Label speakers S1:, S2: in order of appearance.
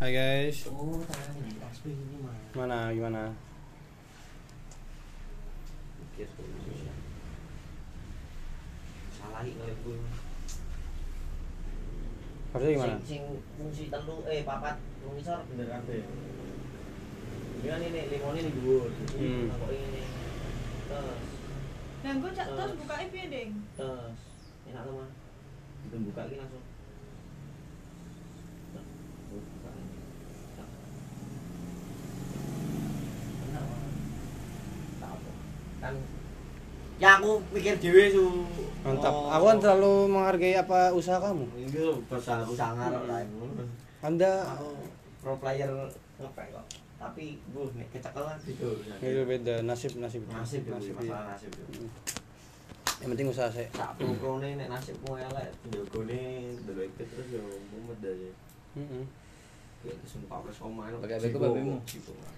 S1: Hai guys,
S2: Oh, tangan di asli ini mah.
S1: gimana gimana?
S3: Mikir gua susah. Salah ingat gue.
S1: Harusnya gimana?
S3: Sing, sing fungsi telu eh papat mengisor bener kabeh. Ini kan ini limonnya ini dhuwur.
S1: Hmm.
S3: Nah, kok ini. Terus,
S4: Dan gue cak terus bukanya piye, Ding?
S3: terus. Enak tuh, Mas. Itu buka ini langsung. Nah, Buka ini. Nah. Enak, Mas. Tak apa. Kan ya aku pikir dhewe su.
S1: Mantap.
S3: Oh.
S1: Aku kan selalu menghargai apa usaha kamu.
S3: Ini besar sangar lah ngono.
S1: Anda
S3: Aku pro player ngepek kok. Tapi gue nek kecekelan gitu.
S1: itu beda nasib nasib
S3: Nasib ya,
S1: nasib. iya.
S3: masalah nasib. ya.
S1: Yang penting usaha sih.
S3: Sak pro-prone nek nasibmu elek, jogone delok ikut terus yo mumet aja.
S1: Mm-mm.
S3: Ya itu sumpah wis omahan.
S5: Pakai beko babemu.